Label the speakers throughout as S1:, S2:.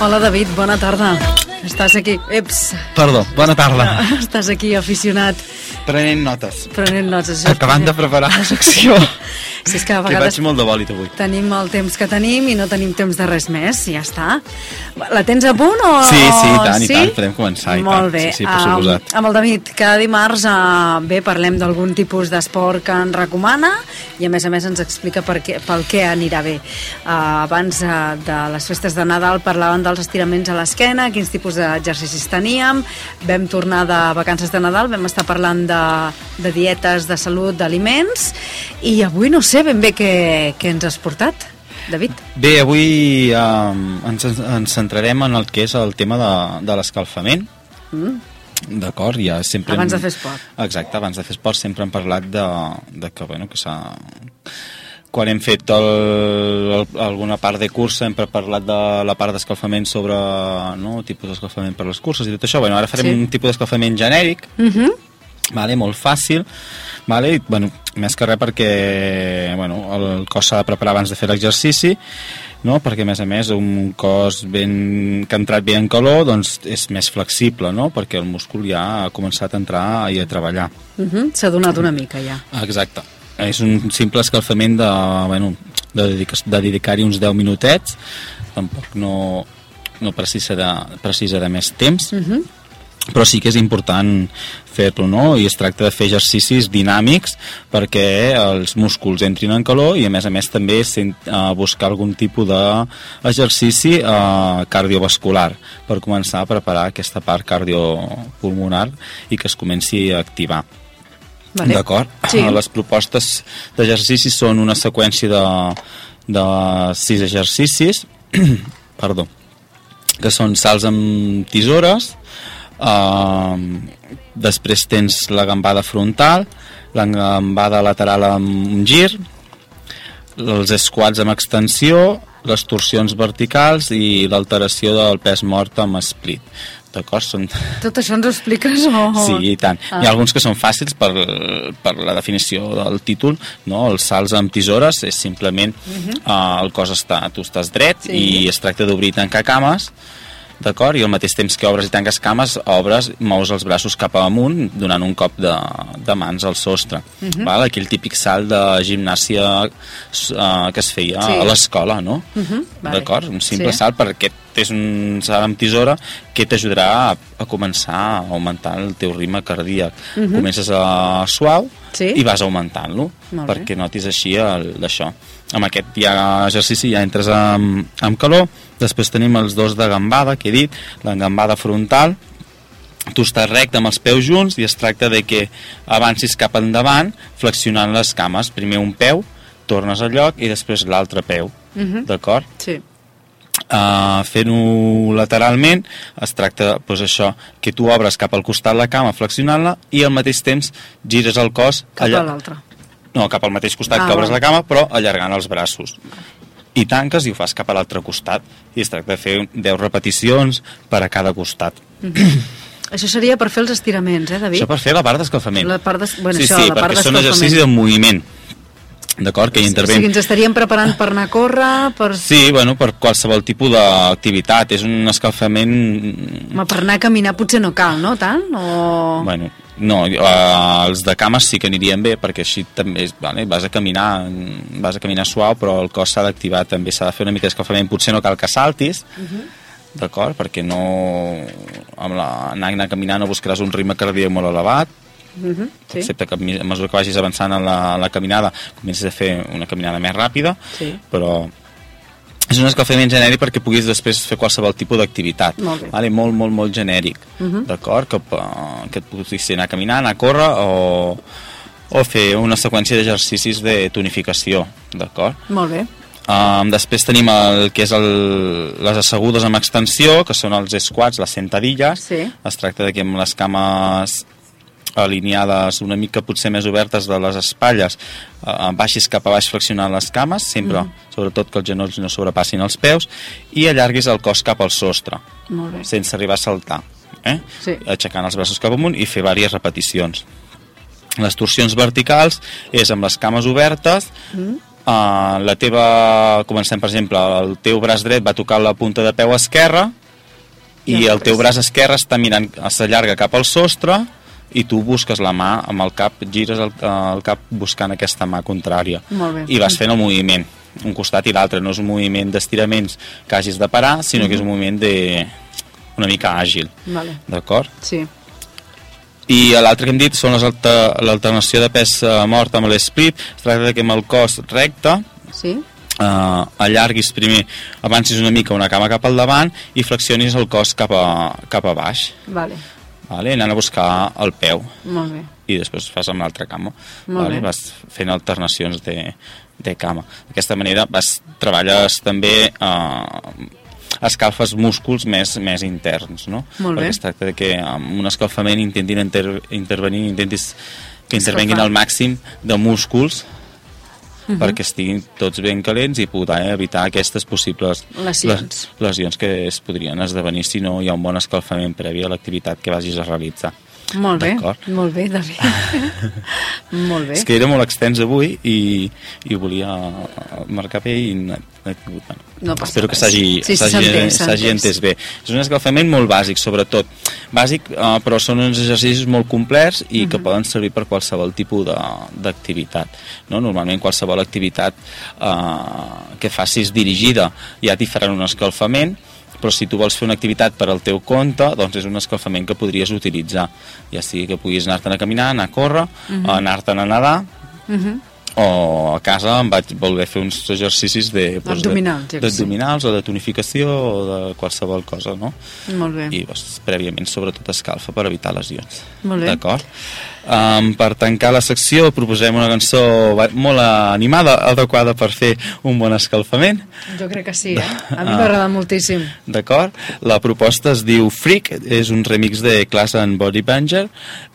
S1: Hola, David, bona tarda. Estàs aquí... Eps,
S2: Perdó, bona tarda.
S1: estàs aquí aficionat
S2: Prenent notes.
S1: prenent notes.
S2: Acabant de preparar la secció.
S1: Si és que a
S2: Que vaig
S1: vegades
S2: molt de bòlit avui.
S1: tenim el temps que tenim i no tenim temps de res més, i ja està. La tens a punt o...?
S2: Sí, sí, i tant, i tant, podem començar, i
S1: Oh, Molt
S2: tant.
S1: bé.
S2: Sí, sí, per
S1: Am-
S2: suposat.
S1: amb el David, cada dimarts eh, bé, parlem d'algun tipus d'esport que ens recomana i a més a més ens explica per què, pel què anirà bé. Eh, abans eh, de les festes de Nadal parlaven dels estiraments a l'esquena, quins tipus d'exercicis teníem, vam tornar de vacances de Nadal, vam estar parlant de, de dietes, de salut, d'aliments i avui no sé ben bé què, què ens has portat, David.
S2: Bé, avui eh, ens, ens centrarem en el que és el tema de, de l'escalfament. Mm. D'acord, ja sempre...
S1: Abans
S2: hem-
S1: de fer esport.
S2: Exacte, abans de fer esport sempre hem parlat de, de que, bueno, que s'ha... Quan hem fet el, el, alguna part de cursa hem parlat de la part d'escalfament sobre no, tipus d'escalfament per les curses i tot això. Bueno, ara farem
S1: Sí.
S2: sí. un tipus d'escalfament genèric,
S1: Uh -huh.
S2: vale, molt fàcil vale, i, bueno, més que res perquè bueno, el cos s'ha de preparar abans de fer l'exercici no? perquè a més a més un cos ben, que ha entrat bé en calor doncs és més flexible no? perquè el múscul ja ha començat a entrar i a treballar
S1: Uh -huh. S'ha donat una mica ja.
S2: Ah, Exacte. És un simple escalfament de, bueno, de, dedicar, de dedicar-hi uns 10 minutets. Tampoc no, no precisa, de, precisa de més temps. Uh -huh. Però sí que és important fer-lo, no? I es tracta de fer exercicis dinàmics perquè els músculs entrin en calor i, a més a més, també sent, eh, buscar algun tipus d'exercici eh, cardiovascular per començar a preparar aquesta part cardiopulmonar i que es comenci a activar.
S1: Vale.
S2: D'acord? Ah,
S1: Sí.
S2: Les propostes d'exercicis són una seqüència de, de sis exercicis, perdó, que són salts amb tisores, eh, després tens la gambada frontal, la gambada lateral amb un gir, els squats amb extensió, les torsions verticals i l'alteració del pes mort amb split. D'acord? Són
S1: Tot això ens ho expliques o...?
S2: Sí, i tant.
S1: Ah.
S2: Ah. Hi ha alguns que són fàcils per, per la definició del títol, no? Els salts amb tisores és simplement uh -huh. uh, el cos està, tu estàs dret
S1: Mhm. Sí.
S2: sí. i es tracta d'obrir i tancar cames, d'acord? I al mateix temps que obres i tanques cames, obres, mous els braços cap amunt donant un cop de, de mans al sostre. Uh
S1: Mhm.
S2: -huh. Val? Aquí el típic salt de gimnàsia uh, que es feia
S1: Sí.
S2: sí. a l'escola, no? Uh
S1: Mhm, vale.
S2: D'acord? Un simple
S1: Sí.
S2: sí. salt perquè és un salt amb tisora que t'ajudarà a, a començar a augmentar el teu ritme cardíac. Uh -huh. Comences a suau
S1: Mhm. Sí.
S2: i vas augmentant-lo
S1: Molt bé.
S2: perquè notis així el- d'això. Amb aquest ja exercici ja entres amb, amb calor. Després tenim els dos de gambada, que he dit, la gambada frontal, tu estàs recte amb els peus junts i es tracta de que avancis cap endavant flexionant les cames. Primer un peu, tornes al lloc i després l'altre peu. Uh
S1: Mhm.
S2: -huh. D'acord?
S1: Sí.
S2: Uh, fent-ho lateralment es tracta, doncs això que tu obres cap al costat la cama flexionant-la i al mateix temps gires el cos
S1: Cap
S2: allar-
S1: a l'altre.
S2: no, cap al mateix costat
S1: Ah,
S2: ah, que obres
S1: val.
S2: la cama, però allargant els braços. I tanques i ho fas cap a l'altre costat. I es tracta de fer 10 repeticions per a cada costat.
S1: Això seria per fer els estiraments, eh, David?
S2: Això per fer la part d'escalfament.
S1: La part d'es- bueno,
S2: sí,
S1: això,
S2: sí,
S1: la part
S2: perquè són
S1: d'escalfament.
S2: exercicis de moviment. D'acord? Que hi
S1: O sigui,
S2: intervenen.
S1: ens estaríem preparant per anar a córrer, per,
S2: Sí, bueno, per qualsevol tipus d'activitat. És un escalfament
S1: home, per anar a caminar potser no cal, no? Tant? O...
S2: Bueno, no, eh, els de cames sí que anirien bé perquè així també és, vale, vas a caminar mm, vas a caminar suau però el cos s'ha d'activar també s'ha de fer una mica d'escalfament potser no cal que saltis uh -huh. d'acord? perquè no amb la, anar, anar caminant no buscaràs un ritme cardíac molt elevat
S1: Uh -huh, sí.
S2: excepte que a mi- a mesura que vagis avançant en la, en la caminada comences a fer una caminada més ràpida
S1: Sí.
S2: però és un escalfament genèric perquè puguis després fer qualsevol tipus d'activitat.
S1: Molt bé. Mhm.
S2: Vale? molt, molt, molt genèric. Uh -huh. D'acord? Que, eh, que et puguis ser anar a caminar, anar a córrer o, o fer una seqüència d'exercicis de tonificació. D'acord?
S1: Molt bé.
S2: Um, després tenim el que és el, les assegudes amb extensió, que són els squats, les sentadilles.
S1: Ah, Sí.
S2: Es tracta de que amb les cames alineades una mica potser més obertes de les espatlles eh, baixis cap a baix flexionant les cames sempre, sobretot que els genolls no sobrepassin els peus i allarguis el cos cap al sostre
S1: Molt bé.
S2: sense arribar a saltar eh?
S1: Sí.
S2: aixecant els braços cap amunt i fer diverses repeticions. Les torsions verticals és amb les cames obertes, mm. uh, la teva, comencem per exemple, el teu braç dret va tocar la punta de peu esquerra i
S1: Ja,
S2: el teu
S1: després.
S2: braç esquerre està mirant, s'allarga cap al sostre i tu busques la mà amb el cap, gires el, el cap buscant aquesta mà contrària
S1: Molt bé.
S2: i vas fent el moviment un costat i l'altre, no és un moviment d'estiraments que hagis de parar, sinó que és un moviment de... una mica àgil
S1: Vale.
S2: d'acord?
S1: Sí.
S2: I l'altre que hem dit són les alta- l'alternació de pes eh, mort amb l'esplit. Es tracta que amb el cos recte
S1: Sí?
S2: eh, allarguis primer, avancis una mica una cama cap al davant i flexionis el cos cap a, cap a baix,
S1: Vale.
S2: vale? anant a buscar el peu
S1: Molt bé.
S2: i després fas amb l'altra cama.
S1: Molt bé.
S2: Vas fent alternacions de, de cama. D'aquesta manera vas, treballes també... Eh, escalfes músculs més, més interns, no?
S1: Molt bé.
S2: Perquè es tracta de que amb un escalfament intentin inter, intervenir, intentis que intervenguin
S1: Escalfar.
S2: al màxim de músculs
S1: Mhm.
S2: perquè estiguin tots ben calents i poder evitar aquestes possibles
S1: Lesions.
S2: les- lesions que es podrien esdevenir si no hi ha un bon escalfament previ a l'activitat que vagis a realitzar.
S1: Molt bé.
S2: D'acord.
S1: Molt bé, David. Molt bé.
S2: És que era molt extens avui i, i volia marcar bé i no he tingut... Bueno,
S1: No passa
S2: espero que
S1: res.
S2: s'hagi
S1: Sí, sí,
S2: s'hagi-
S1: s'entén,
S2: s'hagi
S1: s'entén.
S2: entès bé. És un escalfament molt bàsic, sobretot. Bàsic, eh, però són uns exercicis molt complets i
S1: Mhm.
S2: que poden servir per qualsevol tipus de- d'activitat. No? Normalment qualsevol activitat eh, que facis dirigida ja t'hi faran un escalfament, però si tu vols fer una activitat per al teu compte, doncs és un escalfament que podries utilitzar, ja sigui que puguis anar-te'n a caminar, anar a córrer,
S1: Mhm.
S2: anar-te'n a nedar, o a casa em vaig voler fer uns exercicis de, doncs,
S1: Abdominals,
S2: de,
S1: jo que sé.
S2: d'abdominals o de tonificació o de qualsevol cosa, no?
S1: Molt bé.
S2: I doncs, prèviament, sobretot, escalfa per evitar lesions.
S1: Molt bé.
S2: D'acord? Um, per tancar la secció proposem una cançó ba- molt animada, adequada per fer un bon escalfament,
S1: Jo crec que sí, eh? A mi m'agrada moltíssim.
S2: d'acord? La proposta es diu Freak, és un remix de Class and Body Banger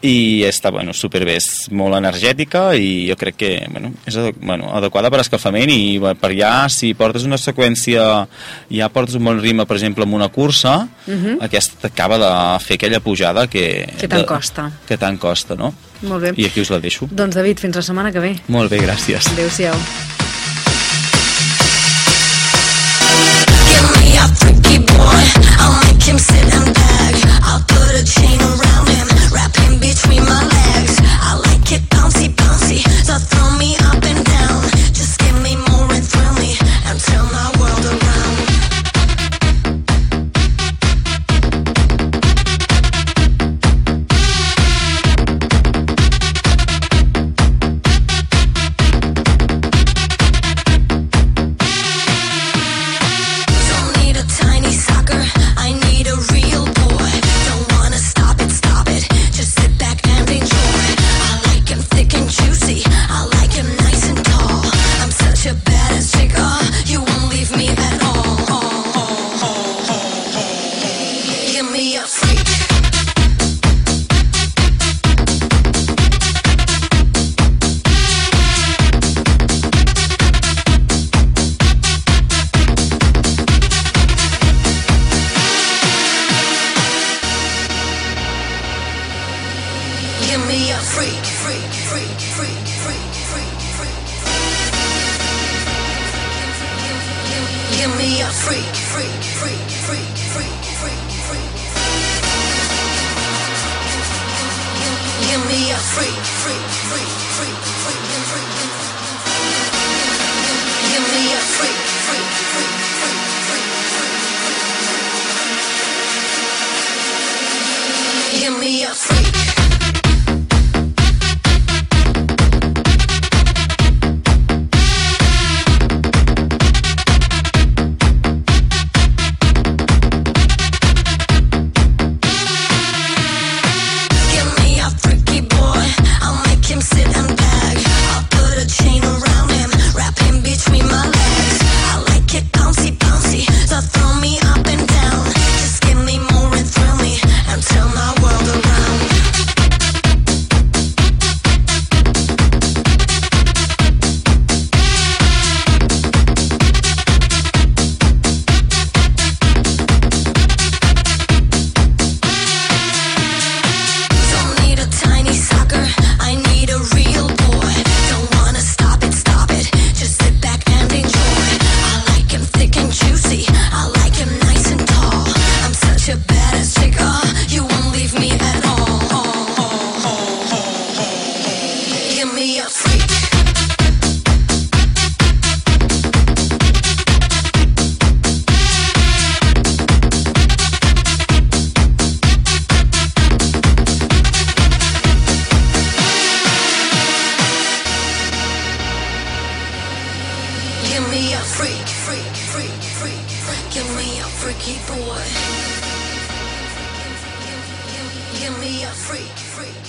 S2: i està, bueno, superbé, és molt energètica i jo crec que, bueno, és ade- bueno, adequada per escalfament i bueno, per ja, si portes una seqüència, ja portes un bon ritme, per exemple, amb una cursa, uh
S1: Mhm.
S2: -huh. aquesta t'acaba de fer aquella pujada que...
S1: Que tant
S2: de-
S1: costa.
S2: Que tant costa, no?
S1: Molt bé.
S2: I aquí us la deixo.
S1: Doncs, David, fins la setmana que ve.
S2: Molt bé, gràcies.
S1: Adéu-siau.
S3: Give me a freaky boy. I'll make him sit and beg. I'll put a chain around him, wrap him between my legs. I like it bouncy, bouncy. So throw me up and down. Just give me more and thrill me and turn my world around. Don't need a tiny sucker. I need a real boy. Don't wanna stop it, stop it. Just sit back and enjoy. I like him thick and juicy. I like him nice and tall. I'm such a badass chica. You won't leave me at all. Give me a freak. Give me a freak, freak, freak, freak, freak, freak, freak. Give me a freak, freak, freak, freak, freak, freak, freak. Give me a freak, freak, freak, freak, freak, freak. Give me a freak, freak, freak, freak, freak, freak. Give me a freak. Give me a freaky boy. I'll make him sit and beg. I'll put a chain around him, wrap him between my legs. I like it bouncy, bouncy. So throw me up and down. Just give me more and thrill me and turn my world around. me a freak, freak, freak, freak, freak. Give me a freaky boy. Give me a freak, freak.